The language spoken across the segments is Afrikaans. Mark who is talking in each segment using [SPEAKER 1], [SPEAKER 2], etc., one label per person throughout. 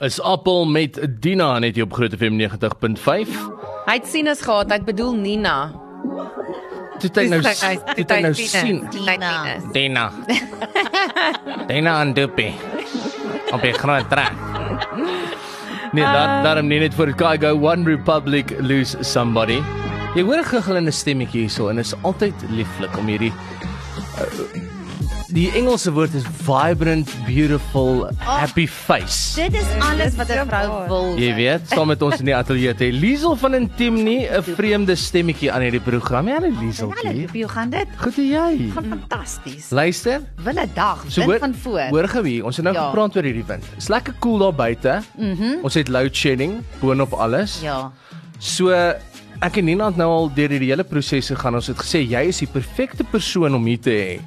[SPEAKER 1] Is appel met Dina net hier op Groot FM 90.5.
[SPEAKER 2] Hy het sinus gehad, hy het bedoel Nina.
[SPEAKER 1] Toe hy nou
[SPEAKER 2] Dis hy-
[SPEAKER 1] toe het hy nou
[SPEAKER 2] hy
[SPEAKER 1] sien.
[SPEAKER 2] sinus. Hy het sinus.
[SPEAKER 1] Dina. Dina en Dupi. Op die groot trek. Nee, daar daarom nie net vir Kygo One Republic lose somebody. Jy hoor 'n giggelende stemmetjie hierso en is altyd lieflik om hierdie uh, die Engelse woord is vibrant, beautiful, happy face.
[SPEAKER 3] Dit is alles wat 'n vrou wil.
[SPEAKER 1] Jy weet, saam met ons in die ateljee te Liesel van Intimni, 'n vreemde stemmetjie aan hierdie program. Ja,
[SPEAKER 3] Hallo,
[SPEAKER 1] Lieseltjie.
[SPEAKER 3] hoe gaan dit?
[SPEAKER 1] Goed en jy?
[SPEAKER 3] Gaan fantasties.
[SPEAKER 1] Luister,
[SPEAKER 3] Wille dag,
[SPEAKER 1] Hmm. So
[SPEAKER 3] wind
[SPEAKER 1] hoor,
[SPEAKER 3] van voor.
[SPEAKER 1] hoor gou hier, ons het nou ja.
[SPEAKER 3] Ja. Mhm.
[SPEAKER 1] gepraat oor hierdie wind. Is lekker koel cool daar buite. Mm -hmm. Ons het load shedding boonop alles.
[SPEAKER 3] Ja.
[SPEAKER 1] So ek en Nina het nou al deur hierdie hele proses gegaan. Ons het gesê jy is die perfekte persoon om hier te hê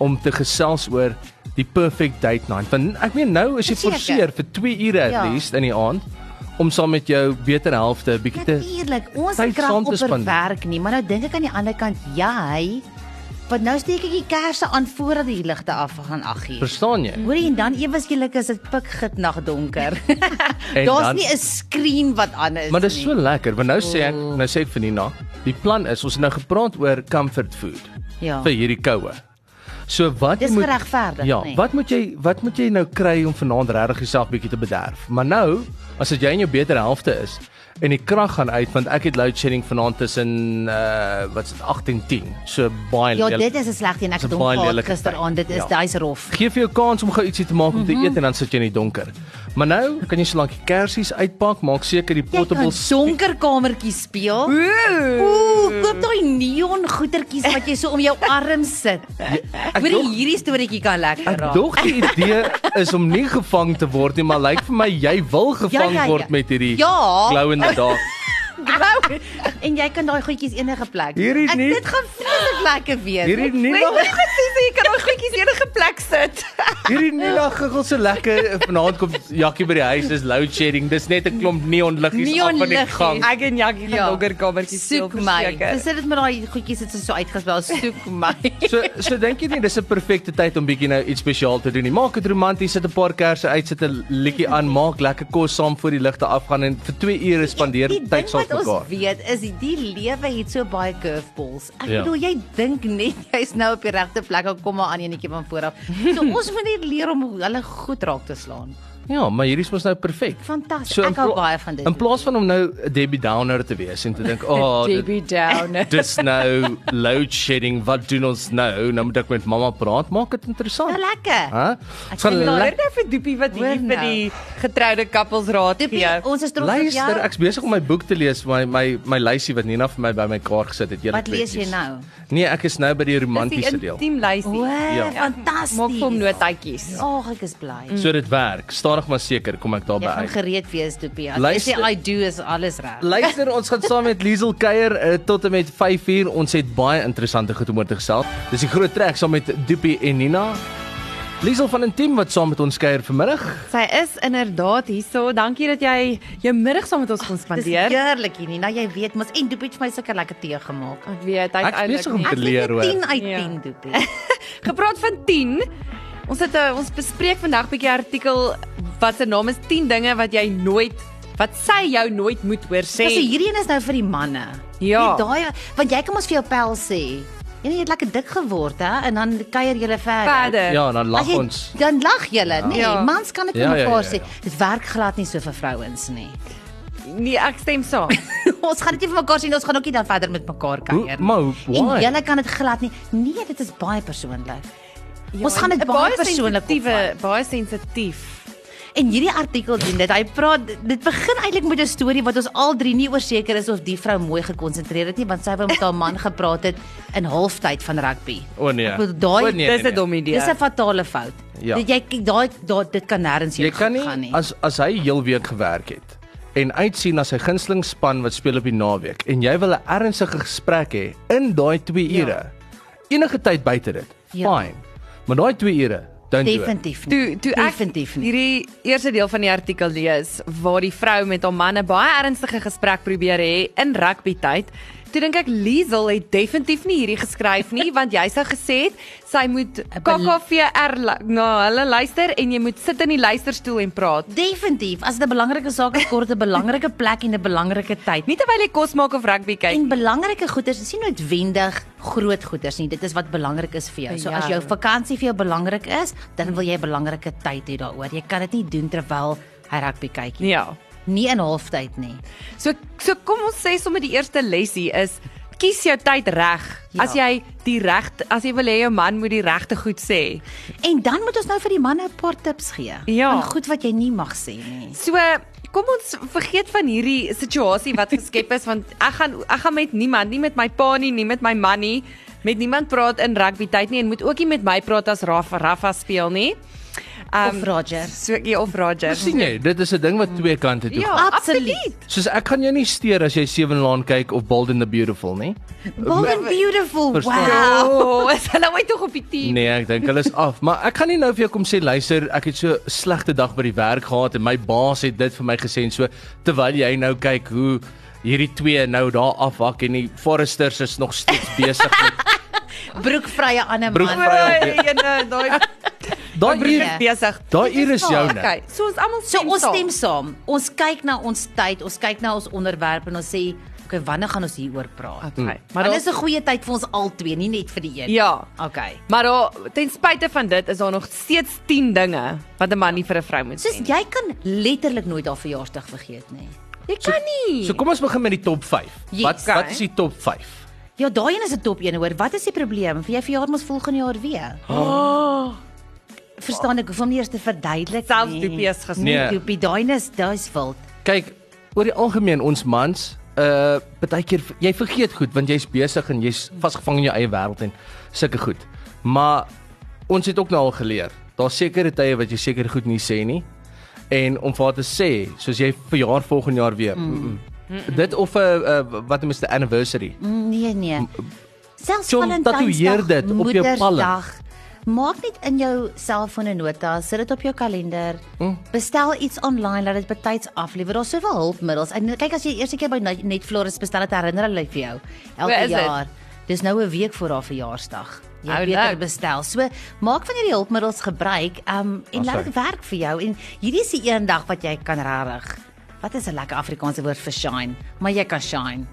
[SPEAKER 1] om te gesels oor die perfect date night. Want ek meen nou is jy
[SPEAKER 3] Verseker.
[SPEAKER 1] forceer vir 2 ure at ja.
[SPEAKER 3] Ja.
[SPEAKER 1] least in die aand om saam met jou beter helfte 'n bietjie te
[SPEAKER 3] Natuurlik, ons
[SPEAKER 1] tyd
[SPEAKER 3] het krag
[SPEAKER 1] saam te
[SPEAKER 3] op vir
[SPEAKER 1] spandeer.
[SPEAKER 3] werk nie, maar nou dink ek aan die ander kant, jy want nou steek ek die kersse aan voordat die ligte afgaan aggie.
[SPEAKER 1] Verstaan jy?
[SPEAKER 3] Hoorie en dan ewe skielik is dit pikgit nag donker.
[SPEAKER 1] En
[SPEAKER 3] Daar's
[SPEAKER 1] dan-
[SPEAKER 3] nie 'n skerm wat aan is
[SPEAKER 1] Maar dis
[SPEAKER 3] nie. Oh.
[SPEAKER 1] so lekker, want nou sê ek, nou sê ek vir Nina, die plan is ons het nou gepraat oor comfort food.
[SPEAKER 3] Ja.
[SPEAKER 1] vir hierdie koue. So wat
[SPEAKER 3] Dis
[SPEAKER 1] jy moet
[SPEAKER 3] geregverdig, nee.
[SPEAKER 1] Ja,
[SPEAKER 3] nê?
[SPEAKER 1] wat moet jy wat moet jy nou kry om vanaand regtig jouself bietjie te bederf? Maar nou, as dit jy in jou beter helfte is en die krag gaan uit want ek het load shedding vanaand tussen uh wat's dit 8 en 10. So baie
[SPEAKER 3] Ja,
[SPEAKER 1] lelik.
[SPEAKER 3] dit is 'n slegte een. Ek
[SPEAKER 1] Dis
[SPEAKER 3] het
[SPEAKER 1] een
[SPEAKER 3] hom
[SPEAKER 1] baie
[SPEAKER 3] gehad
[SPEAKER 1] lelike
[SPEAKER 3] gisteraand. Dit is
[SPEAKER 1] tyd, ja.
[SPEAKER 3] hy's rof.
[SPEAKER 1] Geef jou kans om gou ietsie te maak om
[SPEAKER 3] Mhm.
[SPEAKER 1] te eet en dan sit jy in die donker. Maar nou kan jy solank die kersies uitpak, maak seker die
[SPEAKER 3] Jy kan
[SPEAKER 1] portable
[SPEAKER 3] donker kamertjies speel. Ooh, koop daai neon goetertjies wat jy so om jou arm sit. Ek weet
[SPEAKER 1] dog-
[SPEAKER 3] hierdie storieetjie kan lekker
[SPEAKER 1] Ek
[SPEAKER 3] raak.
[SPEAKER 1] dog die idee is om nie gevang te word nie, maar lyk vir my jy wil gevang
[SPEAKER 3] ja, ja.
[SPEAKER 1] word met hierdie
[SPEAKER 3] Ja.
[SPEAKER 1] glow in the dark.
[SPEAKER 3] Blou. en jy kan daai goedjies enige plek. doen.
[SPEAKER 1] Hierdie
[SPEAKER 3] Ek-
[SPEAKER 1] nie-
[SPEAKER 3] Dit gaan vreeslik lekker wees.
[SPEAKER 1] Hierdie
[SPEAKER 2] Net
[SPEAKER 1] Nina,
[SPEAKER 2] nie presies jy kan ons goedjies enige plek sit.
[SPEAKER 1] hierdie Nina giggel so lekker. Vanaand kom Jakkie by die huis, dis load shedding, dis net 'n klomp neon liggies af van die
[SPEAKER 3] Neonliggies.
[SPEAKER 1] gang.
[SPEAKER 2] Ek en Jackie gaan
[SPEAKER 3] Ja.
[SPEAKER 2] donker kamertjies
[SPEAKER 3] soek my. Dis dit met daai goedjies dit is so uitgespel. Soek my.
[SPEAKER 1] So so dink jy nie dis 'n perfekte tyd om bietjie nou iets spesiaal te doen nie. Maak dit romanties, sit 'n paar kersse uit, sit 'n liedjie aan, maak lekker kos saam voor die ligte afgaan en vir 2 ure spandeer
[SPEAKER 3] Die ding
[SPEAKER 1] tyd saam
[SPEAKER 3] wat
[SPEAKER 1] met mekaar.
[SPEAKER 3] ons weet is die- die lewe het so baie curveballs. Ek
[SPEAKER 1] Ja.
[SPEAKER 3] ja. bedoel jy dink net jy's nou op die regte plek en kom maar aan enetjie van vooraf. So ons moet net leer om hulle goed raak te slaan.
[SPEAKER 1] Ja, maar hierdie is mos nou perfek.
[SPEAKER 3] Fantasties.
[SPEAKER 1] in
[SPEAKER 3] Ek hou
[SPEAKER 1] pla-
[SPEAKER 3] baie van dit.
[SPEAKER 1] In plaas van om nou 'n Debbie Downer te wees en te dink, "O, oh, dit
[SPEAKER 2] JB down.
[SPEAKER 1] dis nou load shedding. Wat doen ons nou? Nou moet ek met mamma praat. Maak dit interessant.
[SPEAKER 3] Nou lekker.
[SPEAKER 1] Hæ? Ons gaan
[SPEAKER 3] sien
[SPEAKER 2] Hoor
[SPEAKER 1] lekker
[SPEAKER 2] nou vir Doopie wat hier
[SPEAKER 3] Hoor
[SPEAKER 2] vir
[SPEAKER 3] nou.
[SPEAKER 2] die getroude koppels raad
[SPEAKER 3] Doopie,
[SPEAKER 2] gee.
[SPEAKER 3] ons is trots op jou.
[SPEAKER 1] luister. Ek's besig om my boek te lees, my my my lysie wat Nina vir my bymekaar gesit het. hele
[SPEAKER 3] Wat lees jy
[SPEAKER 1] kwessies.
[SPEAKER 3] nou?
[SPEAKER 1] Nee, ek is nou by die
[SPEAKER 2] Dis
[SPEAKER 1] romantiese
[SPEAKER 2] die
[SPEAKER 3] Mm.
[SPEAKER 1] deel.
[SPEAKER 2] intiem
[SPEAKER 3] O,
[SPEAKER 2] lysie. Ja.
[SPEAKER 1] Ja.
[SPEAKER 3] fantasties.
[SPEAKER 2] Maak vir hom notaatjies.
[SPEAKER 3] Ag, ek is bly.
[SPEAKER 1] So dit werk. Stadig maar seker kom ek
[SPEAKER 3] Jy
[SPEAKER 1] daarby
[SPEAKER 3] gaan
[SPEAKER 1] uit.
[SPEAKER 3] gereed wees, Doopie. As jy
[SPEAKER 1] Luister.
[SPEAKER 3] sê I do is alles reg.
[SPEAKER 1] Luister, ons gaan saam met Liesel kuier uh, tot en met 5uur. Ons het baie interessante goed om oor te gesels. Dis die groot trek saam met Doopie en Nina. Liesel van Intiem wat saam met ons kuier vanmiddag.
[SPEAKER 2] Sy is inderdaad hierso. Dankie dat jy jou middag saam met ons kon
[SPEAKER 3] Dis
[SPEAKER 2] spandeer.
[SPEAKER 3] heerlik hier nie. Nou jy weet mos en Doopie het vir my sulke lekker tee gemaak.
[SPEAKER 2] Ek weet hy
[SPEAKER 1] Ek is
[SPEAKER 2] eintlik
[SPEAKER 1] besig om
[SPEAKER 2] nie.
[SPEAKER 1] te leer hoor.
[SPEAKER 3] 10 uit
[SPEAKER 2] Ja.
[SPEAKER 3] 10 Doopie.
[SPEAKER 2] Gepraat van 10. Ons het 'n ons bespreek vandag bietjie 'n artikel wat se naam is 10 dinge wat jy nooit wat sy jou nooit moet hoor
[SPEAKER 3] Dis so
[SPEAKER 2] sê.
[SPEAKER 3] hierdie een is nou vir die manne.
[SPEAKER 2] Ja.
[SPEAKER 3] Net daai want jy kan mos vir jou pel sê. En jy het lekker dik geword hè en dan kuier jy verder.
[SPEAKER 2] Verder.
[SPEAKER 1] Ja, dan
[SPEAKER 3] As
[SPEAKER 1] lag
[SPEAKER 3] jy-
[SPEAKER 1] ons.
[SPEAKER 3] Dan lag julle, nee.
[SPEAKER 2] Ja.
[SPEAKER 3] Mans kan dit
[SPEAKER 1] Ja,
[SPEAKER 3] ja,
[SPEAKER 1] ja,
[SPEAKER 3] mekaar
[SPEAKER 1] ja,
[SPEAKER 3] ja,
[SPEAKER 1] ja.
[SPEAKER 3] ja, sê. Dit werk glad nie so vir vrouens nie.
[SPEAKER 2] Nee, ek stem saam.
[SPEAKER 3] ons gaan dit nie vir mekaar sê nie, ons gaan ook nie dan verder met mekaar
[SPEAKER 1] Hoe,
[SPEAKER 3] kuier nie.
[SPEAKER 1] maar hoe-
[SPEAKER 3] En
[SPEAKER 1] why?
[SPEAKER 3] julle kan dit glad nie. Nee, dit is baie persoonlik.
[SPEAKER 2] Ja,
[SPEAKER 3] Ons gaan dit
[SPEAKER 2] een
[SPEAKER 3] baie persoonlik
[SPEAKER 2] sensitiewe- baie sensitief.
[SPEAKER 3] En hierdie artikel doen dit. Hy praat dit begin eintlik met 'n storie wat ons al drie nie oorseker is of die vrou mooi gekonsentreer het nie, want sy wou met haar man gepraat het in halftyd van rugby.
[SPEAKER 1] O nee.
[SPEAKER 3] Ek bedoel, daai-
[SPEAKER 1] O, nee,
[SPEAKER 2] Dis
[SPEAKER 1] nee,
[SPEAKER 2] 'n
[SPEAKER 1] nee.
[SPEAKER 2] dom idee.
[SPEAKER 3] Dis 'n fatale fout.
[SPEAKER 1] Ja.
[SPEAKER 3] Dit jy daai daai dit kan nêrens
[SPEAKER 1] Jy
[SPEAKER 3] heen
[SPEAKER 1] kan
[SPEAKER 3] goed gaan
[SPEAKER 1] nie
[SPEAKER 3] nie.
[SPEAKER 1] as as hy heel week gewerk het en uitsien na sy gunsteling span wat speel op die naweek en jy wil 'n ernstige gesprek hê in daai 2
[SPEAKER 3] Ja.
[SPEAKER 1] ure. Enige tyd buite dit.
[SPEAKER 3] Ja.
[SPEAKER 1] Fine. Maar daai 2 ure, don't do it.
[SPEAKER 3] Definitief nie.
[SPEAKER 2] Toe toe ek
[SPEAKER 3] Definitief nie.
[SPEAKER 2] hierdie eerste deel van die artikel lees waar die vrou met haar man 'n baie ernstige gesprek probeer hê in rugby tyd Toe dink ek Liesel het definitief nie hierdie geskryf nie want jy sou gesê het sy moet
[SPEAKER 3] bel-
[SPEAKER 2] KKVR lu- na hulle luister en jy moet sit in die luisterstoel en praat.
[SPEAKER 3] Definitief, as dit 'n belangrike saak is, kort 'n belangrike plek en 'n belangrike tyd.
[SPEAKER 2] Nie terwyl jy kos maak of rugby kyk.
[SPEAKER 3] En belangrike goeders is nie noodwendig groot goeders nie. Dit is wat belangrik is vir jou.
[SPEAKER 2] Vir
[SPEAKER 3] So as jou
[SPEAKER 2] jou.
[SPEAKER 3] vakansie vir jou belangrik is, dan wil jy belangrike tyd hê daaroor. Jy kan dit nie doen terwyl hy rugby kyk nie.
[SPEAKER 2] Ja.
[SPEAKER 3] Nie in halftyd nie.
[SPEAKER 2] So so kom ons sê sommer die eerste lesie is kies jou tyd reg.
[SPEAKER 3] Ja.
[SPEAKER 2] As jy die reg as jy wil hê jou man moet die regte goed sê.
[SPEAKER 3] En dan moet ons nou vir die manne 'n paar tips gee.
[SPEAKER 2] Ja.
[SPEAKER 3] Van goed wat jy nie mag sê nie.
[SPEAKER 2] So kom ons vergeet van hierdie situasie wat geskep is want ek gaan ek gaan met niemand, nie met my pa nie, nie met my man nie, met niemand praat in rugby tyd nie en moet ook nie met my praat as Rafa Rafa speel nie. Ehm,
[SPEAKER 3] Of Roger.
[SPEAKER 2] So ja, of Roger.
[SPEAKER 1] sien jy, dit is 'n ding
[SPEAKER 3] Mm.
[SPEAKER 1] wat twee kante toe
[SPEAKER 2] Ja,
[SPEAKER 1] gaan.
[SPEAKER 3] Absoluut.
[SPEAKER 2] absoluut.
[SPEAKER 1] Soos ek kan jou nie steur as jy Seven Laan kyk of Bold and the Beautiful nie.
[SPEAKER 3] Bold and beautiful.
[SPEAKER 1] Verstaan.
[SPEAKER 3] Wow.
[SPEAKER 2] Oh, is hulle my tog op die team?
[SPEAKER 1] Nee, ek dink hulle is af, maar ek gaan nie nou vir jou kom sê luister, ek het so 'n slegte dag by die werk gehad en my baas het dit vir my gesê en so terwyl jy nou kyk hoe hierdie twee nou daar afhak en die Foresters is nog steeds besig met
[SPEAKER 3] Broekvrye ander
[SPEAKER 1] Broek-
[SPEAKER 3] man.
[SPEAKER 2] Oei, en uh, daai
[SPEAKER 1] daai
[SPEAKER 2] broer
[SPEAKER 1] uur
[SPEAKER 2] is besig.
[SPEAKER 1] daai uur is joune.
[SPEAKER 2] Okay, so ons almal
[SPEAKER 3] So ons stem saam. Ons kyk na ons tyd, ons kyk na ons onderwerp en ons sê, "Oké, wanneer gaan ons hieroor praat?"
[SPEAKER 1] Hmm.
[SPEAKER 2] Okay,
[SPEAKER 3] Maar
[SPEAKER 2] maar
[SPEAKER 3] dit
[SPEAKER 2] daar
[SPEAKER 3] is 'n goeie tyd vir ons albei, nie net vir die een.
[SPEAKER 2] Ja.
[SPEAKER 3] Okay.
[SPEAKER 2] Maar daar ten spyte van dit is daar nog steeds 10 dinge wat 'n man nie vir 'n vrou moet
[SPEAKER 3] Soos
[SPEAKER 2] sê.
[SPEAKER 3] jy kan letterlik nooit haar verjaarsdag vergeet nie.
[SPEAKER 2] Jy kan nie.
[SPEAKER 1] So kom ons begin met die top 5.
[SPEAKER 3] Yes.
[SPEAKER 1] Wat wat
[SPEAKER 2] Okay.
[SPEAKER 1] is die top 5?
[SPEAKER 3] Ja, daai een is 'n top een hoor. Wat is die probleem? Vir jy verjaar mos volgende jaar weer. Verstaan ek hoef hom nie eers te verduidelik
[SPEAKER 2] Oh. Selfs
[SPEAKER 3] nie.
[SPEAKER 2] Doopie is gesnoer.
[SPEAKER 3] Nee,
[SPEAKER 1] Nee.
[SPEAKER 3] Doopie, daai is daai's wild.
[SPEAKER 1] Kyk, oor die algemeen ons mans, uh baie keer jy vergeet goed want jy's besig en jy's vasgevang in jou eie wêreld en sulke goed. Maar ons het ook nou al geleer, daar's sekere tye wat jy seker goed nie sê nie. En om vir haar te sê, soos jy verjaar volgende jaar weer. Mm. Mm -mm. Dit of 'n uh, wat noem jy 'n anniversary.
[SPEAKER 3] Nee, nee. Selfs
[SPEAKER 1] John, tatoeëer dit op jou
[SPEAKER 3] Moedersdag. Maak net in jou selfoon 'n nota, sit dit op jou kalender.
[SPEAKER 1] Hm.
[SPEAKER 3] Mm. Bestel iets online, laat dit betyds aflewer. Daar's soveel hulpmiddels. En kyk as jy die eerste keer by Net- Netflix bestel het, herinner hulle vir jou
[SPEAKER 2] Waar
[SPEAKER 3] elke
[SPEAKER 2] is dit?
[SPEAKER 3] jaar. Dis nou 'n week voor haar verjaarsdag. Jy
[SPEAKER 2] Ou,
[SPEAKER 3] het beter
[SPEAKER 2] leuk.
[SPEAKER 3] bestel. So maak van hierdie hulpmiddels gebruik, um en laat
[SPEAKER 1] Awesome.
[SPEAKER 3] dit werk vir jou. En hierdie is die een dag wat jy kan regtig. Wat is 'n lekker Afrikaanse woord vir shine? Maar jy kan shine.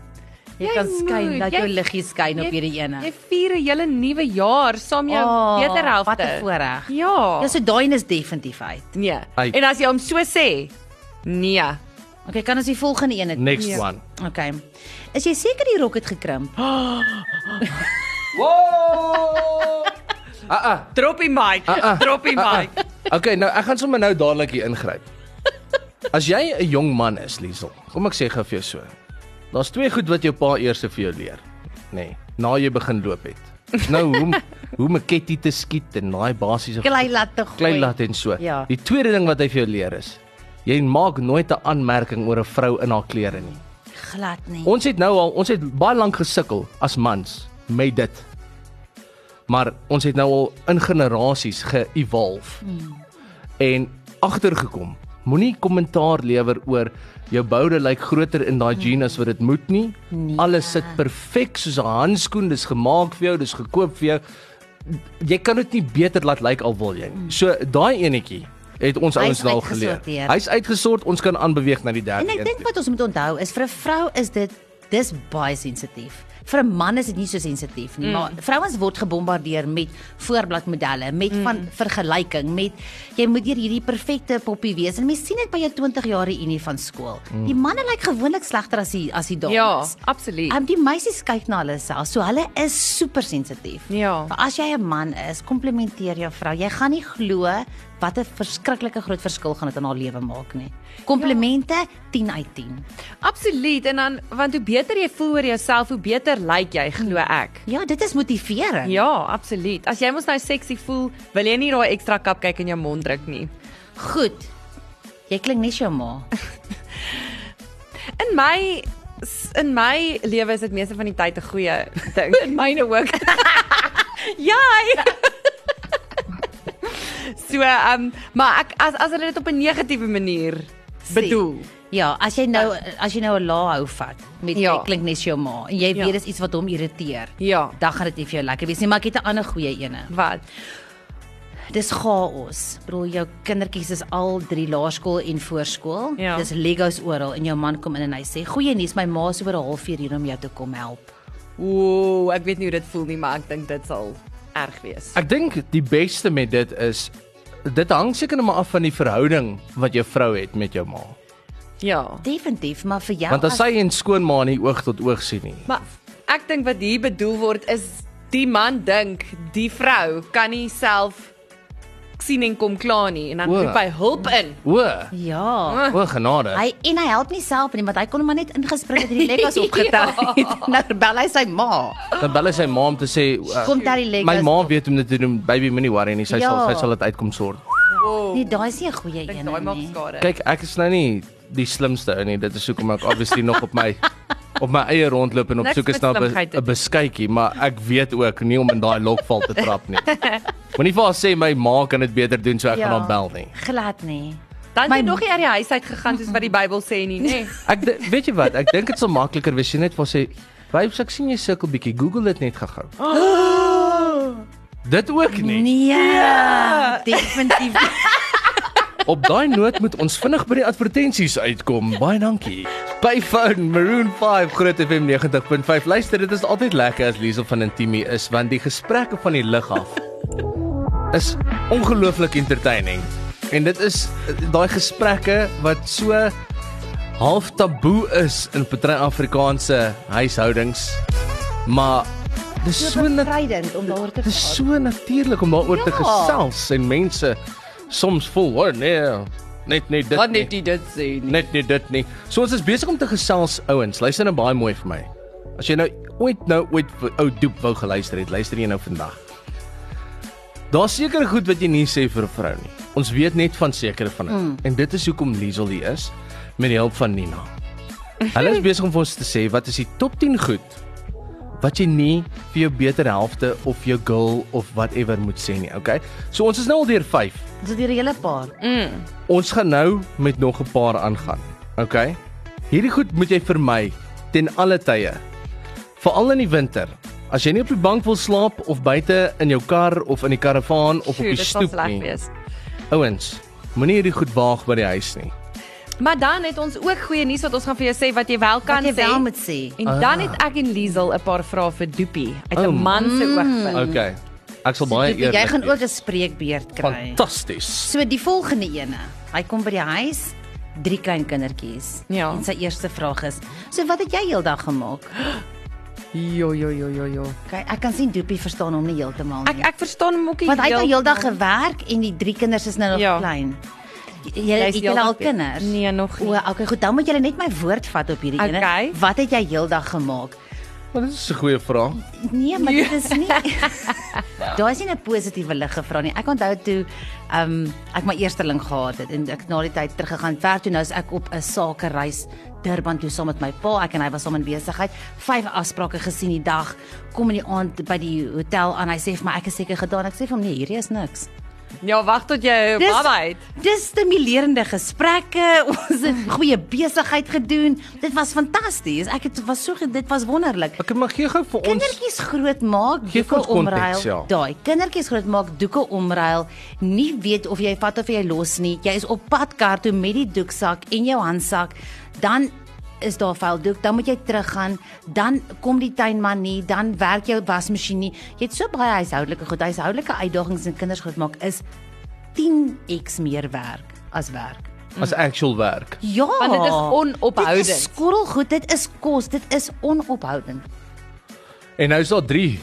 [SPEAKER 3] Jy,
[SPEAKER 2] Jy
[SPEAKER 3] kan skyn,
[SPEAKER 2] moet,
[SPEAKER 3] laat
[SPEAKER 2] jy-
[SPEAKER 3] jou liggie skyn op hierdie ene.
[SPEAKER 2] Jy vier 'n hele nuwe jaar saam jou oh,
[SPEAKER 3] Oh,
[SPEAKER 2] beter helfte.
[SPEAKER 3] Wat 'n voorreg.
[SPEAKER 2] Ja.
[SPEAKER 3] Ja, so daai een is definitief uit.
[SPEAKER 2] nee.
[SPEAKER 1] Ai.
[SPEAKER 2] En as jy hom so sê, nee.
[SPEAKER 3] Okay, kan ons die volgende een doen?
[SPEAKER 1] Next one.
[SPEAKER 3] Okay. Is jy seker die rok het gekrimp?
[SPEAKER 1] Wow! Ah ah.
[SPEAKER 2] Droppie Mike. Uh, uh, Droppie Mike. Uh, uh.
[SPEAKER 1] Okay, nou ek gaan sommer nou dadelik hier ingryp. As jy 'n jong man is, Liesel, kom ek sê gou vir jou so. Daar's twee goed wat jou pa eers vir jou leer, nê, nee, na jy begin loop het. Nou hoe om- hoe om 'n ketty te skiet en daai basiese
[SPEAKER 3] Klei laat te gooi.
[SPEAKER 1] klei laat en so.
[SPEAKER 3] Ja.
[SPEAKER 1] Die tweede ding wat hy vir jou leer is, jy maak nooit 'n aanmerking oor 'n vrou in haar klere nie.
[SPEAKER 3] glad nie.
[SPEAKER 1] Ons het nou al ons het baie lank gesukkel as mans met dit. Maar ons het nou al in generasies ge-evolve.
[SPEAKER 3] Hmm.
[SPEAKER 1] Mm. En agtergekom. Moenie kommentaar lewer oor jou boude lyk groter in
[SPEAKER 3] Hmm.
[SPEAKER 1] daai jean as wat dit moet nie. Nee. Alles sit perfek soos 'n handskoen, dis gemaak vir jou, dis gekoop vir jou. Jy kan dit nie beter laat lyk al wil jy nie. So daai enetjie het ons
[SPEAKER 3] Hmm. Hy is
[SPEAKER 1] ouens nou al geleer.
[SPEAKER 3] uitgesorteer.
[SPEAKER 1] Hy's uitgesort, ons kan aanbeweeg na Ja, die derde
[SPEAKER 3] En ek
[SPEAKER 1] een
[SPEAKER 3] dink
[SPEAKER 1] toe.
[SPEAKER 3] wat ons moet onthou is vir 'n vrou is dit dis baie sensitief. Vir 'n man is dit nie so sensitief nie, mm. maar vrouens word gebombardeer met voorbladmodelle, met mm. van vergelyking, met jy moet deur hierdie perfekte poppie wees. En mense sien dit by jou 20 jaar unie van skool. Mm. Die manne lyk gewoonlik slegter as die as die dames.
[SPEAKER 2] Ja, absoluut.
[SPEAKER 3] Um, die meisies kyk na hulle self, so hulle is super sensitief.
[SPEAKER 2] Ja.
[SPEAKER 3] Maar as jy 'n man is, komplimenteer jou vrou. Jy gaan nie glo wat 'n verskriklike groot verskil gaan dit in haar lewe maak nie. Komplimente
[SPEAKER 2] Ja.
[SPEAKER 3] 10 uit 10.
[SPEAKER 2] Absoluut en dan want hoe beter jy voel oor jouself, hoe beter lyk jy, glo ek.
[SPEAKER 3] Ja, dit is motivering.
[SPEAKER 2] Ja, absoluut. As jy mos nou sexy voel, wil jy nie daai ekstra cupcake in jou mond druk nie.
[SPEAKER 3] Goed. Jy klink nie so ma.
[SPEAKER 2] In my in my lewe is dit meeste van die tyd 'n goeie ding. in myne ook. ja. So, ehm um, maar ek as as hulle dit op 'n negatiewe manier
[SPEAKER 3] sê.
[SPEAKER 2] bedoel.
[SPEAKER 3] Ja, as jy nou as jy nou 'n la hou vat met
[SPEAKER 2] Ja.
[SPEAKER 3] ja. klink net jou ma en jy
[SPEAKER 2] Ja.
[SPEAKER 3] ja. weet dis iets wat hom irriteer.
[SPEAKER 2] Ja.
[SPEAKER 3] Dan gaan dit nie vir jou lekker wees nie, maar ek het 'n ander goeie ene.
[SPEAKER 2] Wat?
[SPEAKER 3] Dis chaos. Bro, jou kindertjies is al drie laerskool en voorskool.
[SPEAKER 2] Ja.
[SPEAKER 3] Dis Legos oral en jou man kom in en hy sê: "Goeie nuus, my ma is oor 'n halfuur hier om jou te kom help."
[SPEAKER 2] Ooh, ek weet nie hoe dit voel nie, maar ek dink dit sal erg wees.
[SPEAKER 1] Ek dink die beste met dit is dit hang seker net maar af van die verhouding wat jou vrou het met jou ma.
[SPEAKER 2] Ja.
[SPEAKER 3] Definitief, maar vir jou
[SPEAKER 1] Want as sy en skoonma nie oog tot oog sien nie.
[SPEAKER 2] Maar ek dink wat hier bedoel word is die man dink die vrou kan nie self sien en kom klaar nie en dan
[SPEAKER 1] O.
[SPEAKER 2] roep hy hulp in.
[SPEAKER 1] O,
[SPEAKER 3] Ja.
[SPEAKER 1] o genade.
[SPEAKER 3] Hy en hy help nie self nie, want hy kon hom maar net ingespring het en die
[SPEAKER 2] Ja.
[SPEAKER 3] Legos opgetel het. Nou bel hy sy ma.
[SPEAKER 1] Dan bel hy sy ma om te sê uh,
[SPEAKER 3] Kom daar die Legos.
[SPEAKER 1] my ma weet om dit te doen. Baby moenie worry nie. Sy sal
[SPEAKER 3] Ja.
[SPEAKER 1] sy sal dit uitkom sort.
[SPEAKER 2] Wow.
[SPEAKER 3] Nee, daai is nie 'n goeie
[SPEAKER 2] Dink
[SPEAKER 3] een
[SPEAKER 2] Oh. daai maak
[SPEAKER 3] nie.
[SPEAKER 2] skade.
[SPEAKER 1] Kyk, ek is nou nie die slimste ou nie. Dit is hoekom ek obviously nog op my op my eie rondloop en op
[SPEAKER 2] Niks
[SPEAKER 1] soek is na
[SPEAKER 2] met
[SPEAKER 1] 'n
[SPEAKER 2] slimheid te
[SPEAKER 1] be- 'n beskuitjie, maar ek weet ook nie om in daai lokval te trap nie. Moenie vir haar sê my ma kan dit beter doen so ek gaan haar bel nie.
[SPEAKER 3] Glad nie.
[SPEAKER 2] Dan
[SPEAKER 3] My-
[SPEAKER 2] het jy nog nie uit die huis uit gegaan soos wat die Bybel sê nie, nê? Nee.
[SPEAKER 1] Ek di- weet jy wat, ek dink dit sal makliker wees as jy net vir haar sê, "Wys ek sien jy sukkel bietjie. Google dit net gou-gou." Dit ook nie.
[SPEAKER 3] Nee.
[SPEAKER 2] Ja.
[SPEAKER 3] Definitief.
[SPEAKER 1] Op daai noot moet ons vinnig by die advertensies uitkom. Baie dankie. By Phone Maroon 5 Groot FM 90.5. Luister, dit is altyd lekker as Liesel van Intimi is want die gesprekke van die lig af is ongelooflik entertaining. En dit is eh, daai gesprekke wat so half taboe is in party Afrikaanse huishoudings. Maar dis so net
[SPEAKER 3] Vrydend om daaroor te
[SPEAKER 1] Dit is so natuurlik om daaroor te
[SPEAKER 3] Ja.
[SPEAKER 1] gesels en mense soms vol hoor nee net net dit
[SPEAKER 2] Wat
[SPEAKER 1] nie,
[SPEAKER 2] net jy dit sê nie.
[SPEAKER 1] net net dit nie. So ons is besig om te gesels ouens. Luister nou baie mooi vir my. As jy nou ooit nou ooit vir ou doep wou geluister het, luister jy nou vandag. Daar seker goed wat jy nie sê vir 'n vrou nie. Ons weet net van sekere van dit. Mm. En dit is hoekom Liesel hier is met die hulp van Nina. Hulle is besig om vir ons te sê wat is die top 10 goed wat jy nie vir jou beter helfte of jou girl of whatever moet sê nie, okay? So ons is nou al deur 5.
[SPEAKER 3] Dis die hele paar.
[SPEAKER 1] Ons gaan nou met nog 'n paar aangaan. OK. Hierdie goed moet jy vermy ten alle tye. Veral in die winter. As jy nie op die bank wil slaap of buite in jou kar of in die karavaan of op
[SPEAKER 2] Sjoe,
[SPEAKER 1] die
[SPEAKER 2] dit sal
[SPEAKER 1] stoep
[SPEAKER 2] sleg
[SPEAKER 1] nie.
[SPEAKER 2] wees.
[SPEAKER 1] Ouens, moenie hierdie goed waag by die huis nie.
[SPEAKER 2] Maar dan het ons ook goeie nuus wat ons gaan vir jou sê wat jy wel kan
[SPEAKER 3] Wat jy
[SPEAKER 2] sê.
[SPEAKER 3] wel moet sê.
[SPEAKER 2] En dan het ek en Liesel 'n paar vrae vir Doopie uit 'n
[SPEAKER 1] Oh.
[SPEAKER 2] man se
[SPEAKER 3] Mm.
[SPEAKER 2] oogpunt.
[SPEAKER 1] OK. Ek sal baie
[SPEAKER 3] Jy
[SPEAKER 1] eerlik.
[SPEAKER 3] jy gaan
[SPEAKER 1] wees.
[SPEAKER 3] ook 'n spreekbeurt kry.
[SPEAKER 1] fantasties.
[SPEAKER 3] So die volgende ene. Hy kom by die huis, drie klein kindertjies.
[SPEAKER 2] Ja.
[SPEAKER 3] En sy eerste vraag is: "So wat het jy heeldag gemaak?"
[SPEAKER 2] Jo jo jo jo jo.
[SPEAKER 3] Kyk, ek kan sien Doopie verstaan hom nie heeltemal nie.
[SPEAKER 2] Ek ek verstaan hom ook nie.
[SPEAKER 3] Want hy het nou
[SPEAKER 2] heel-
[SPEAKER 3] heeldag gewerk en die drie kinders is nou nog
[SPEAKER 2] Ja.
[SPEAKER 3] ja. klein. J-
[SPEAKER 2] Jy
[SPEAKER 3] Julle
[SPEAKER 2] is
[SPEAKER 3] het julle
[SPEAKER 2] heeldag
[SPEAKER 3] al
[SPEAKER 2] weer-
[SPEAKER 3] kinders?
[SPEAKER 2] Nee, nog nie.
[SPEAKER 3] O, okay, goed, dan moet julle net my woord vat op hierdie
[SPEAKER 2] Okay.
[SPEAKER 3] ene. Wat het jy heeldag gemaak?
[SPEAKER 1] Maar dit is 'n goeie vraag.
[SPEAKER 3] Nee, maar dit is nie. Daar is nie 'n positiewe lig gevra nie. Ek onthou toe ehm um, ek my eersteling gehad het en ek het na die tyd teruggegaan ver toe nou is ek op 'n sakereis Durban toe saam met my pa. Ek en hy was saam in besigheid. Vyf afsprake gesien die dag. Kom in die aand by die hotel aan. Hy sê vir my ek is seker gedaan. Ek sê vir hom nee, hierdie is niks.
[SPEAKER 2] Ja, wag tot jy
[SPEAKER 3] Dis-
[SPEAKER 2] baba het.
[SPEAKER 3] Dis stimulerende gesprekke. Ons het goeie besigheid gedoen. Dit was fantasties. Ek het was so ge- dit was wonderlik.
[SPEAKER 1] Ek mag gee gou vir ons
[SPEAKER 3] Kindertjies grootmaak,
[SPEAKER 1] Geef
[SPEAKER 3] doeke
[SPEAKER 1] ons konteks,
[SPEAKER 3] omruil.
[SPEAKER 1] ja.
[SPEAKER 3] Daai kindertjies grootmaak, doeke omruil, nie weet of jy vat of jy los nie. Jy is op pad kar toe met die doeksak en jou handsak, dan is daar vuil doek, dan moet jy teruggaan, dan kom die tuinman nie, dan werk jou wasmasjien nie. Jy het so baie huishoudelike goed, huishoudelike uitdagings en kinders grootmaak is 10x meer werk as werk.
[SPEAKER 1] as actual werk.
[SPEAKER 3] Ja.
[SPEAKER 2] Want dit is onophoudend.
[SPEAKER 3] Dit is skorrelgoed, dit is kos, dit is onophoudend.
[SPEAKER 1] En nou is daar 3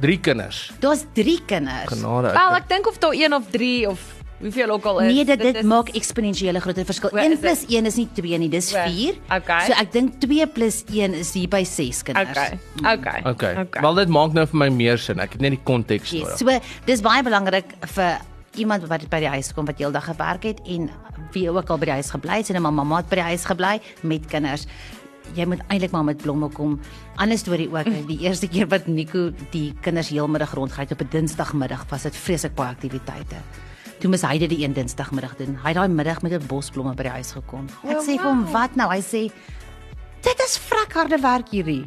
[SPEAKER 1] 3 kinders.
[SPEAKER 3] Daar's 3 kinders.
[SPEAKER 1] Genade. ek
[SPEAKER 2] Wel, ek dink of daar 1 of 3 of hoeveel ook al is.
[SPEAKER 3] Nee, dit, dit,
[SPEAKER 2] is-
[SPEAKER 3] maak eksponensiële groter verskil.
[SPEAKER 2] O, is
[SPEAKER 3] 1
[SPEAKER 2] dit?
[SPEAKER 3] plus 1 is nie 2 nie, dis
[SPEAKER 2] O,
[SPEAKER 3] 4.
[SPEAKER 2] okay.
[SPEAKER 3] So ek dink 2 plus 1 is hier by 6 kinders.
[SPEAKER 2] Okay. Okay.
[SPEAKER 1] Okay. Wel dit maak nou vir my meer sin. Ek het net die konteks
[SPEAKER 3] Yes.
[SPEAKER 1] nodig.
[SPEAKER 3] So dis baie belangrik vir iemand wat by die huis kom wat heeldag gewerk het en wie ook al by die huis gebly het, sien 'n mamma het by die huis gebly met kinders. Jy moet eintlik maar met blomme kom. Ander storie ook, die eerste keer wat Nico die kinders heelmiddag rondgery het op 'n Dinsdagmiddag, was dit vreeslik baie aktiwiteite. Toe mis hy dit die een Dinsdagmiddag doen. Hy het daai middag met 'n bosblomme by die huis gekom. Ek sê vir hom, "Wat nou?" Hy sê, "Dit is vrek harde werk hierdie."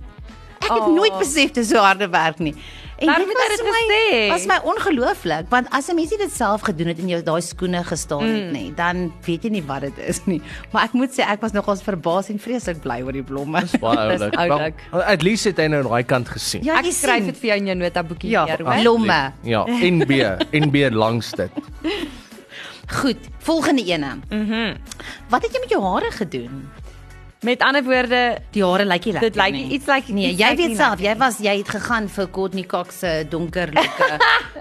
[SPEAKER 3] Ek het
[SPEAKER 2] Oh.
[SPEAKER 3] oh. nooit besef dis so harde werk nie. En
[SPEAKER 2] Waarom het hy
[SPEAKER 3] was
[SPEAKER 2] dit
[SPEAKER 3] my-
[SPEAKER 2] gesê?
[SPEAKER 3] Was my ongelooflik, want as 'n mens nie dit self gedoen het en jou daai skoene gestaan
[SPEAKER 2] Mm.
[SPEAKER 3] het nie, dan weet jy nie wat dit is nie. Maar ek moet sê ek was nogals verbaas en vreeslik bly oor die blomme.
[SPEAKER 1] Baie
[SPEAKER 2] Dis
[SPEAKER 1] oulik.
[SPEAKER 2] oulik.
[SPEAKER 1] Wel, At least het hy nou aan daai kant gesien.
[SPEAKER 3] Ja,
[SPEAKER 2] Ek
[SPEAKER 3] jy
[SPEAKER 2] skryf
[SPEAKER 3] sien.
[SPEAKER 2] dit vir jou in jou notaboekie
[SPEAKER 3] Ja,
[SPEAKER 2] neer,
[SPEAKER 3] absoluut.
[SPEAKER 2] hoor.
[SPEAKER 3] blomme.
[SPEAKER 1] Ja, NB, NB langs dit.
[SPEAKER 3] Goed, volgende ene. Mhm. Mm wat het jy met jou hare gedoen?
[SPEAKER 2] Met ander woorde,
[SPEAKER 3] Die hare lyk nie lekker
[SPEAKER 2] Dit lyk
[SPEAKER 3] nie.
[SPEAKER 2] iets lyk-
[SPEAKER 3] Nee,
[SPEAKER 2] iets
[SPEAKER 3] jy
[SPEAKER 2] lyk nie
[SPEAKER 3] weet self, jy was jy het gegaan vir Courtney Cox se donker lokke.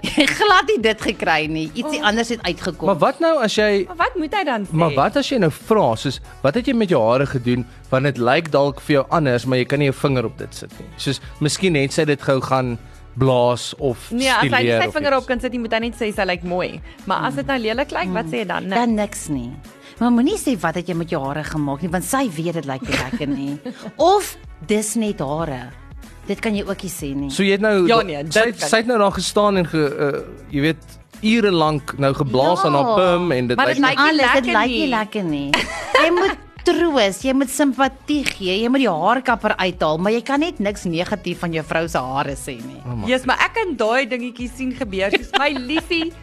[SPEAKER 3] jy het glad nie dit gekry nie. Ietsie oh. anders het uitgekom.
[SPEAKER 1] Maar wat nou as jy
[SPEAKER 2] maar wat moet hy dan sê?
[SPEAKER 1] Maar wat as jy nou vra soos wat het jy met jou hare gedoen want dit lyk dalk vir jou anders maar jy kan nie jou vinger op dit sit nie. Soos miskien net sy dit gou gaan blaas of
[SPEAKER 2] Nee, as hy nie
[SPEAKER 1] stileer
[SPEAKER 2] sy
[SPEAKER 1] of
[SPEAKER 2] vinger
[SPEAKER 1] iets.
[SPEAKER 2] op kan sit, nie, moet hy net sê sy lyk mooi. Maar as dit nou lelik lyk, wat sê jy dan? Nee.
[SPEAKER 3] dan niks nie. Maar moenie sê wat het jy met jou hare gemaak nie, want sy weet dit lyk nie lekker nie. of dis net hare. Dit kan jy ook nie sê nie.
[SPEAKER 1] So jy het nou
[SPEAKER 2] Ja, nee, dit
[SPEAKER 1] sy
[SPEAKER 2] kan nie.
[SPEAKER 1] sy het nou daar gestaan en ge uh, jy weet ure lank nou geblaas
[SPEAKER 3] Ja.
[SPEAKER 1] aan haar perm en dit
[SPEAKER 2] Maar dit
[SPEAKER 1] lyk
[SPEAKER 2] lyk-
[SPEAKER 1] nou-
[SPEAKER 3] alles dit
[SPEAKER 2] lekker
[SPEAKER 3] lyk nie
[SPEAKER 2] nie.
[SPEAKER 3] lekker nie. Jy moet troos, jy moet simpatie gee, jy moet die haarkapper uithaal, maar jy kan net niks negatief van jou vrou se hare sê nie.
[SPEAKER 1] Oh
[SPEAKER 2] Jesus, maar ek kan daai dingetjie sien gebeur. Soos my liefie,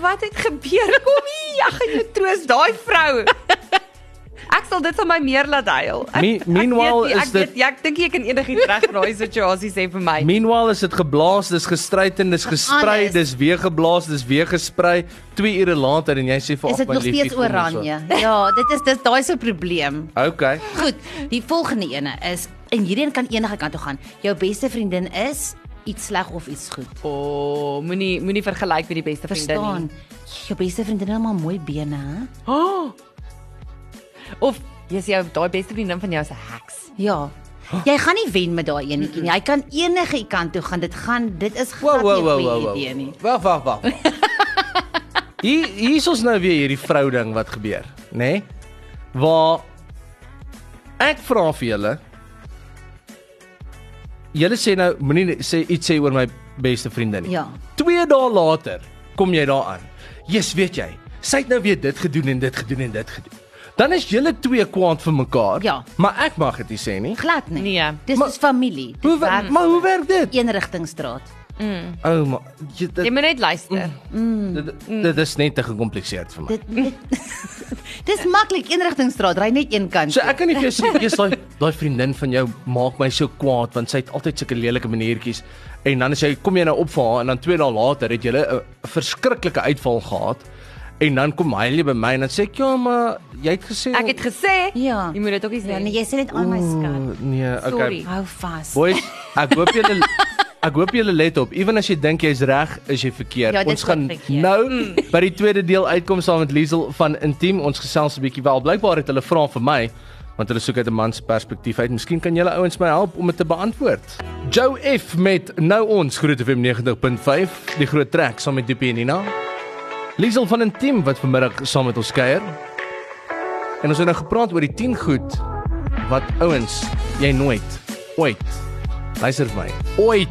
[SPEAKER 2] wat het gebeur? Kom hier, ek gaan jou troos, daai vrou. Ek sal dit van my meer laat huil. Ek,
[SPEAKER 1] Me- meanwhile
[SPEAKER 2] ek weet nie,
[SPEAKER 1] is
[SPEAKER 2] ek
[SPEAKER 1] dit-
[SPEAKER 2] weet, ja, ek dink jy kan enigiets regdraai situasie sê vir my.
[SPEAKER 1] Meanwhile is dit geblaas, dis gestryd en dis gesprei,
[SPEAKER 3] Alles.
[SPEAKER 1] dis weer geblaas, dis weer gesprei 2 ure later en jy sê vir
[SPEAKER 3] Is
[SPEAKER 1] "Ag,
[SPEAKER 3] dit
[SPEAKER 1] my
[SPEAKER 3] nog
[SPEAKER 1] liefie,
[SPEAKER 3] steeds
[SPEAKER 1] kom ons
[SPEAKER 3] oranje? Ja, dit is dis daai se probleem.
[SPEAKER 1] op." Okay.
[SPEAKER 3] Goed, die volgende ene is en hierdie een kan enige kant toe gaan. Jou beste vriendin is iets sleg of iets goed.
[SPEAKER 2] O, oh, moenie moenie vergelyk met die beste vriendin
[SPEAKER 3] Verstaan?
[SPEAKER 2] nie.
[SPEAKER 3] Jou beste vriendin het maar mooi bene, hè?
[SPEAKER 2] Oh. Of jy sê jou daai beste vriendin van jou is 'n heks.
[SPEAKER 3] Ja. Jy gaan nie wen met daai enetjie nie. Hy kan enige kant toe gaan. Dit gaan dit is
[SPEAKER 1] Wow,
[SPEAKER 3] glad nie
[SPEAKER 1] wow,
[SPEAKER 3] 'n
[SPEAKER 1] wow,
[SPEAKER 3] goeie
[SPEAKER 1] wow, wow.
[SPEAKER 3] idee nie.
[SPEAKER 1] Wag, wag, wag. Hier hier is ons nou weer hierdie vrou ding wat gebeur, nê? Nee? Waar ek vra vir julle Julle sê nou moenie sê iets sê oor my beste vriendin nie.
[SPEAKER 3] Ja.
[SPEAKER 1] 2 dae later kom jy daaraan. Jesus, weet jy, sy het nou weer dit gedoen en dit gedoen en dit gedoen. Dan is julle twee kwaad vir mekaar.
[SPEAKER 3] Ja.
[SPEAKER 1] Maar ek mag dit nie sê nie.
[SPEAKER 3] Glad nie.
[SPEAKER 2] Nee.
[SPEAKER 3] Dis
[SPEAKER 1] Maar-
[SPEAKER 3] soos familie.
[SPEAKER 1] Hoe
[SPEAKER 3] Dit
[SPEAKER 1] wer-
[SPEAKER 3] werk
[SPEAKER 1] maar hoe werk
[SPEAKER 3] Ja.
[SPEAKER 1] dit?
[SPEAKER 3] eenrigtingstraat.
[SPEAKER 1] Ou oh, man, jy- dit,
[SPEAKER 2] Jy moet net luister. Mm.
[SPEAKER 1] dit, dit is net te gekompliseerd vir my.
[SPEAKER 3] Dit dit Dis maklik eenrigtingstraat. Ry net een kant.
[SPEAKER 1] So
[SPEAKER 3] toe.
[SPEAKER 1] ek kan nie vir jou sê jy's daai daai vriendin van jou maak my so kwaad want sy het altyd sulke lelike maniertjies en dan as jy kom jy nou op vir haar en dan 2 dae later het julle 'n verskriklike uitval gehad en dan kom hy hulle by my en dan sê ek ja maar jy het gesê
[SPEAKER 2] Ek het gesê,
[SPEAKER 3] Ja.
[SPEAKER 2] jy moet dit ook nie sê.
[SPEAKER 3] Ja, nee,
[SPEAKER 2] nie.
[SPEAKER 3] jy sê net aan my skat.
[SPEAKER 1] Ooh, nee okay
[SPEAKER 2] Sorry.
[SPEAKER 3] Hou vas.
[SPEAKER 1] boys ek hoop julle Ek hoop julle let op. Ewen as jy dink jy's reg, is jy verkeerd.
[SPEAKER 3] Ja, dit Mm.
[SPEAKER 1] ons gaan
[SPEAKER 3] is verkeerd.
[SPEAKER 1] nou by die tweede deel uitkom saam met Liesel van Intiem. Ons gesels 'n bietjie wel. Blykbaar het hulle vra vir my want hulle soek uit 'n man se perspektief uit. Miskien kan julle ouens my help om dit te beantwoord. Joe F met nou ons Groot FM 90.5, die groot trek saam met Dipie en Nina. Liesel van Intiem wat vanmiddag saam met ons kuier. En ons het nou gepraat oor die 10 goed wat ouens jy nooit ooit luister vir my ooit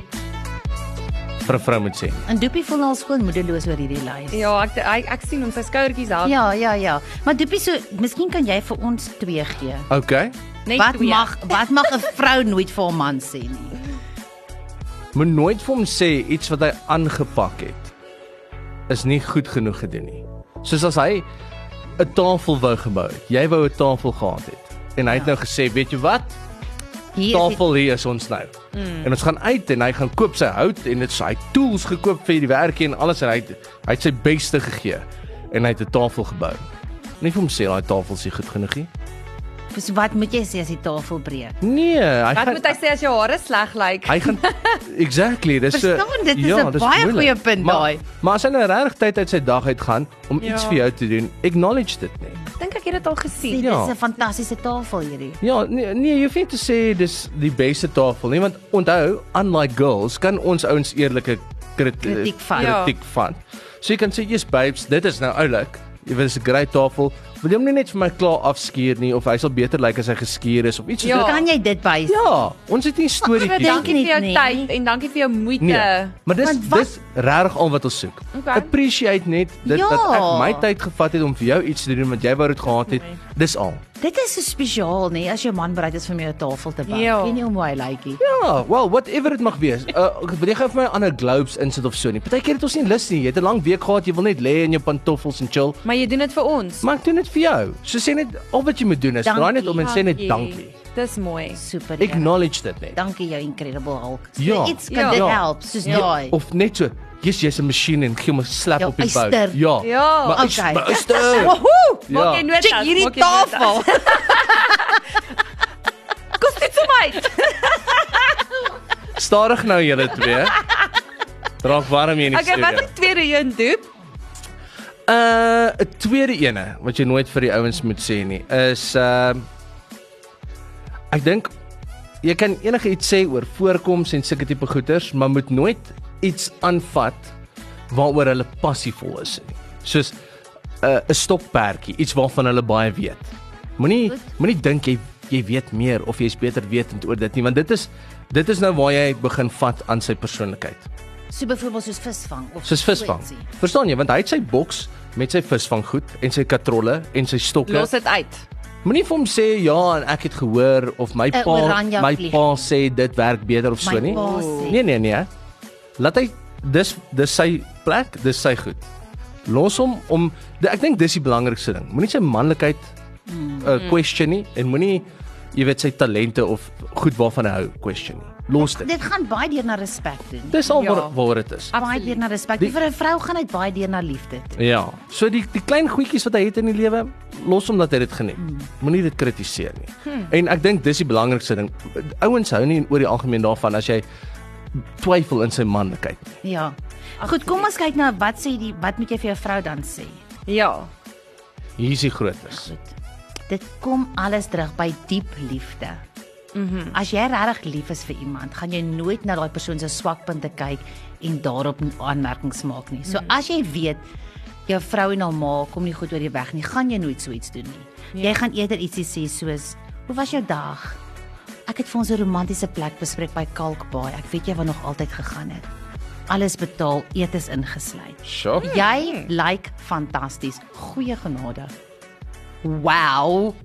[SPEAKER 1] vir 'n vrou moet sê.
[SPEAKER 3] En Doopie voel al skoon moedeloos oor hierdie lys.
[SPEAKER 2] Ja, ek ek, ek sien hom sy skouertjies af.
[SPEAKER 3] Ja, ja, ja. Maar Doopie, so miskien kan jy vir ons twee gee.
[SPEAKER 1] OK.
[SPEAKER 2] Net
[SPEAKER 3] Wat
[SPEAKER 2] twee.
[SPEAKER 3] mag wat mag 'n vrou nooit vir 'n man sê nie?
[SPEAKER 1] Moet nooit vir hom sê iets wat hy aangepak het is nie goed genoeg gedoen nie. Soos as hy 'n tafel wou gebou het. Jy wou 'n tafel gehad het en hy het nou gesê, weet jy wat?
[SPEAKER 3] Hier is die-
[SPEAKER 1] Tafel hier is ons nou. En ons gaan uit en hy gaan koop sy hout en dit sy tools gekoop vir die werkie en alles en hy het, hy het sy beste gegee en hy het 'n tafel gebou. Nie vir hom sê daai tafel is nie goed genoeg nie.
[SPEAKER 3] So wat moet jy sê as die tafel breek?
[SPEAKER 1] Nee, hy
[SPEAKER 2] Wat
[SPEAKER 1] gaan
[SPEAKER 2] moet hy sê as jou hare sleg lyk?
[SPEAKER 1] Hy gaan exactly, dis so- Ja,
[SPEAKER 3] Verstaan, dit is 'n
[SPEAKER 1] dis
[SPEAKER 3] baie
[SPEAKER 1] moeilik.
[SPEAKER 3] goeie punt
[SPEAKER 1] Maar-
[SPEAKER 3] daai.
[SPEAKER 1] Maar as hy nou regtig tyd uit sy dag uit gaan om
[SPEAKER 2] Ja.
[SPEAKER 1] iets vir jou te doen, acknowledge dit nie.
[SPEAKER 2] Ek dink ek het dit al
[SPEAKER 3] Sê,
[SPEAKER 2] gesien.
[SPEAKER 1] Ja.
[SPEAKER 3] Dis 'n fantastiese tafel hierdie.
[SPEAKER 1] Ja, nee, nee, jy hoef nie te sê dis die beste tafel nie, want onthou, unlike girls, kan ons ouens eerlike krit,
[SPEAKER 3] Kritiek vat. Ja.
[SPEAKER 1] kritiek vat. So jy kan sê, "Yes babes, dit is nou oulik. Jy weet, dis 'n great tafel. Wil jy hom nie net vir my klaar afskuur nie of hy sal beter lyk as hy geskuur is of iets soos
[SPEAKER 2] Ja.
[SPEAKER 1] dit?
[SPEAKER 3] Kan jy dit wys?
[SPEAKER 1] Ja, ons het nie 'n storieetjie.
[SPEAKER 3] Dink
[SPEAKER 2] Dankie vir jou
[SPEAKER 3] net nie.
[SPEAKER 2] tyd en dankie vir jou moeite.
[SPEAKER 1] Nee, maar dis
[SPEAKER 3] Want wat-
[SPEAKER 1] dis regtig al wat ons soek.
[SPEAKER 2] Oké.
[SPEAKER 1] Appreciate net dit
[SPEAKER 3] Ja.
[SPEAKER 1] dat ek my tyd gevat het om vir jou iets te doen wat jy wou dit gehad het. Dis al.
[SPEAKER 3] Dit is so spesiaal nê as jou man bereid is vir my 'n tafel te bak.
[SPEAKER 2] Ja.
[SPEAKER 3] Weet nie hoe mooi hy lyk nie.
[SPEAKER 1] Ja, well, whatever dit mag wees. Uh wil jy gou vir my 'n ander globes insit of so nie. Partykeer het ons nie lus nie. Jy het 'n lang week gehad, jy wil net lê in jou pantoffels en chill.
[SPEAKER 2] Maar jy doen dit vir ons.
[SPEAKER 1] Maar ek doen dit vir jou. So sê net al wat jy moet doen is draai net om en sê net dankie.
[SPEAKER 2] Dis mooi.
[SPEAKER 3] Super. Ja.
[SPEAKER 1] Acknowledge dit net.
[SPEAKER 3] Dankie jou incredible Hulk. So
[SPEAKER 1] Ja.
[SPEAKER 3] Iets
[SPEAKER 2] Ja.
[SPEAKER 3] kan dit
[SPEAKER 1] Ja.
[SPEAKER 3] help soos daai.
[SPEAKER 1] Of net so, yes, jy's 'n masjien en gee hom 'n slap
[SPEAKER 3] Ja,
[SPEAKER 1] op die bou.
[SPEAKER 3] uister.
[SPEAKER 1] Ja.
[SPEAKER 2] Ja,
[SPEAKER 1] maar uis-
[SPEAKER 3] okay.
[SPEAKER 1] maar uister.
[SPEAKER 2] Woehoe!
[SPEAKER 1] Ja.
[SPEAKER 2] Maak jy notas.
[SPEAKER 3] Check hierdie
[SPEAKER 2] maak jy notas.
[SPEAKER 3] tafel.
[SPEAKER 2] Kom dit vir my.
[SPEAKER 1] Stadig nou julle twee. Raak warm hier in die
[SPEAKER 2] Okay,
[SPEAKER 1] studio.
[SPEAKER 2] wat is die tweede een doen?
[SPEAKER 1] Uh 'n tweede ene wat jy nooit vir die ouens moet sê nie is uh ek dink jy kan enige iets sê oor voorkoms en sulke tipe goeters, maar moet nooit iets aanvat waaroor hulle passievol is nie. Soos 'n 'n stopperdjie, iets waarvan hulle baie weet. Moenie moenie dink jy jy weet meer of jy's beter wetend oor dit nie, want dit is dit is nou waar jy begin vat aan sy persoonlikheid
[SPEAKER 3] So byvoorbeeld soos visvang of
[SPEAKER 1] soos visvang.
[SPEAKER 3] so ietsie.
[SPEAKER 1] Verstaan jy? Want hy het sy boks met sy visvanggoed en sy katrolle en sy stokke.
[SPEAKER 2] Los dit uit.
[SPEAKER 1] Moenie vir hom sê ja en ek het gehoor of my
[SPEAKER 3] Een
[SPEAKER 1] pa
[SPEAKER 3] Eh, oranje
[SPEAKER 1] my
[SPEAKER 3] vlieg.
[SPEAKER 1] pa sê dit werk beter of
[SPEAKER 3] My
[SPEAKER 1] so nie.
[SPEAKER 3] pa sê.
[SPEAKER 1] Nee nee nee. Laat hy dis dis sy plek, dis sy goed. Los hom om de- ek dink dis die belangrikste ding. Moenie sy manlikheid
[SPEAKER 3] Mm.
[SPEAKER 1] uh, question nie en moenie jy weet sy talente of goed waarvan hy hou question nie. Los dit.
[SPEAKER 3] Dit gaan baie deur na respek toe. nee.
[SPEAKER 1] Dis al
[SPEAKER 2] Ja.
[SPEAKER 1] waar waar dit is.
[SPEAKER 3] Baie deur na respek.
[SPEAKER 1] Die-
[SPEAKER 3] Vir 'n vrou gaan dit baie deur na liefde toe.
[SPEAKER 1] Ja. So die die klein goedjies wat hy het in die lewe, los hom dat hy dit geniet. Moenie dit kritiseer nie. En ek dink dis die belangrikste ding. Ouens hou nie oor die algemeen daarvan as jy twyfel in sy manlikheid.
[SPEAKER 3] Ja. Goed, kom ons kyk na wat sê die wat moet jy vir jou vrou dan sê?
[SPEAKER 2] Ja.
[SPEAKER 1] Hier is die grootes.
[SPEAKER 3] Goed. Dit kom alles terug by diep liefde. Mhm. Mm As jy regtig lief is vir iemand, gaan jy nooit na daai persoon se swakpunte kyk en daarop aanmerkings maak nie. So mm. as jy weet jou vrou en haar ma kom nie goed oor die weg nie, gaan jy nooit so iets doen nie. Yeah. Jy gaan eerder ietsie sê soos, "Hoe was jou dag?" Ek het vir ons 'n romantiese plek bespreek by Kalkbaai. Ek weet jy wou nog altyd gegaan het. Alles betaal, eet is ingesluit.
[SPEAKER 1] Sjoe.
[SPEAKER 3] Jy lyk fantasties. Goeie genade. Wow.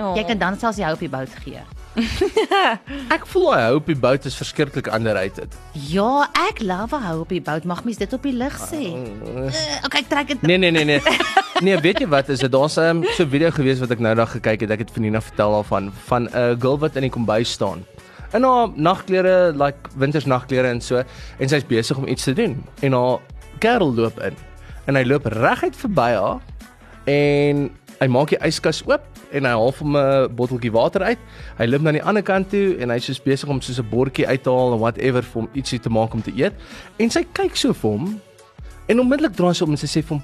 [SPEAKER 2] Oh.
[SPEAKER 3] Jy kan dan selfs jou op die bout gee.
[SPEAKER 1] Ek voel hy hou op die bout is verskriklik underrated.
[SPEAKER 3] Ja, ek love hou op die bout. Mag mens dit op die lig sê? Uh, okay, ek trek dit.
[SPEAKER 1] Ah. Nee nee nee nee. Nee, weet jy wat? Is dit daar's 'n so 'n video gewees wat ek nou dag gekyk het. Ek het Vanina vertel daarvan van 'n girl wat in die kombuis staan. In haar nagklere, like winters nagklere en so, en sy's besig om iets te doen. En haar kerel loop in. En hy loop reguit verby haar en hy maak die yskas oop en hy haal hom 'n botteltjie water uit. Hy loop na die ander kant toe en hy's soos besig om soos 'n bordjie uit te haal en whatever vir hom ietsie te maak om te eet. En sy kyk so vir hom en onmiddellik draai sy om en sy sê vir hom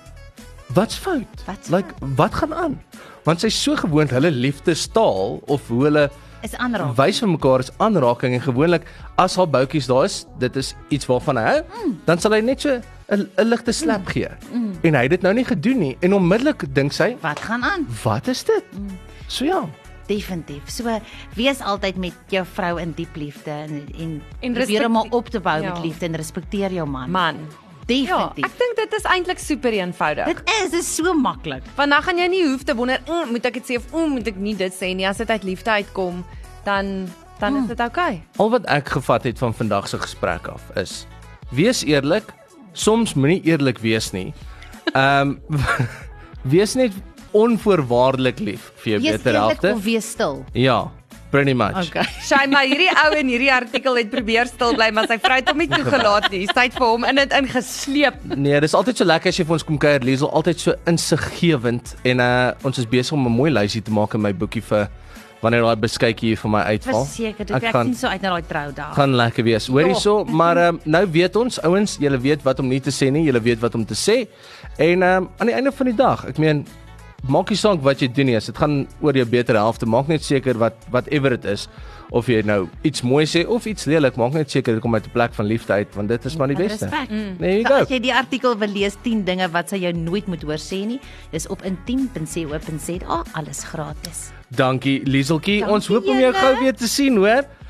[SPEAKER 1] Wat's fout?
[SPEAKER 3] Wat's
[SPEAKER 1] like wat gaan aan? Want sy's so gewoond hulle liefdestaal of hoe hulle
[SPEAKER 3] Is aanraak.
[SPEAKER 1] wys vir mekaar is aanraking en gewoonlik as haar boutjies daar is, dit is iets waarvan hy hou,
[SPEAKER 3] Mm.
[SPEAKER 1] dan sal hy net so 'n 'n ligte slap gee. En hy het dit nou nie gedoen nie en onmiddellik dink sy,
[SPEAKER 3] Wat gaan aan?
[SPEAKER 1] wat is dit?
[SPEAKER 3] Mm.
[SPEAKER 1] So ja,
[SPEAKER 3] Definitief. So wees altyd met jou vrou in diep liefde en en,
[SPEAKER 2] En
[SPEAKER 3] probeer hom maar
[SPEAKER 2] respek-
[SPEAKER 3] op te bou
[SPEAKER 2] Ja.
[SPEAKER 3] met liefde en respekteer jou man.
[SPEAKER 2] Man. Ja,
[SPEAKER 3] Definitief.
[SPEAKER 2] ek dink dit is eintlik super eenvoudig.
[SPEAKER 3] dit is dis so maklik.
[SPEAKER 2] Want dan gaan jy nie hoef te wonder, "Mm, moet ek dit sê of mm, moet ek nie dit sê nie. As dit uit liefde uitkom, dan dan is dit oukei.
[SPEAKER 1] al wat ek gevat het van vandag se gesprek af is wees eerlik, soms moenie eerlik wees nie. Ehm um, wees net onvoorwaardelik lief vir jou
[SPEAKER 3] Wees
[SPEAKER 1] beter
[SPEAKER 3] eerlik
[SPEAKER 1] helfte.
[SPEAKER 3] of wees stil.
[SPEAKER 1] Ja, pretty much.
[SPEAKER 3] Okay.
[SPEAKER 2] Sy maar hierdie ou in hierdie artikel het probeer stil bly, maar sy vrou het hom nie toegelaat nie. Sy het vir hom in dit ingesleep.
[SPEAKER 1] Nee, dis altyd so lekker as jy vir ons kom kuier, Liesel, altyd so insiggewend en uh ons is besig om 'n mooi lysie te maak in my boekie vir wanneer daai beskuitjie hier vir my uitval.
[SPEAKER 3] Verseker, dit ek
[SPEAKER 1] gaan
[SPEAKER 3] sien so uit na daai troudag.
[SPEAKER 1] gaan lekker wees. Hoor hierso,
[SPEAKER 3] Oh.
[SPEAKER 1] maar um, nou weet ons ouens, ehm, julle weet wat om nie te sê nie, julle weet wat om te sê. En um, aan die einde van die dag, ek meen maak nie saak wat jy doen nie, as dit gaan oor jou betere helfte, maak net seker wat whatever dit is of jy nou iets mooi sê of iets lelik, maak net seker dit kom uit 'n plek van liefde uit want dit is maar die beste.
[SPEAKER 3] Respek.
[SPEAKER 1] There you
[SPEAKER 3] So
[SPEAKER 1] go.
[SPEAKER 3] as jy die artikel wil lees 10 dinge wat sy jou nooit moet hoor sê nie, dis op intiem.co.za, alles gratis.
[SPEAKER 1] Dankie Lieseltjie. Ons
[SPEAKER 3] Dankie
[SPEAKER 1] hoop om jou
[SPEAKER 3] julle.
[SPEAKER 1] gou weer te sien, hoor?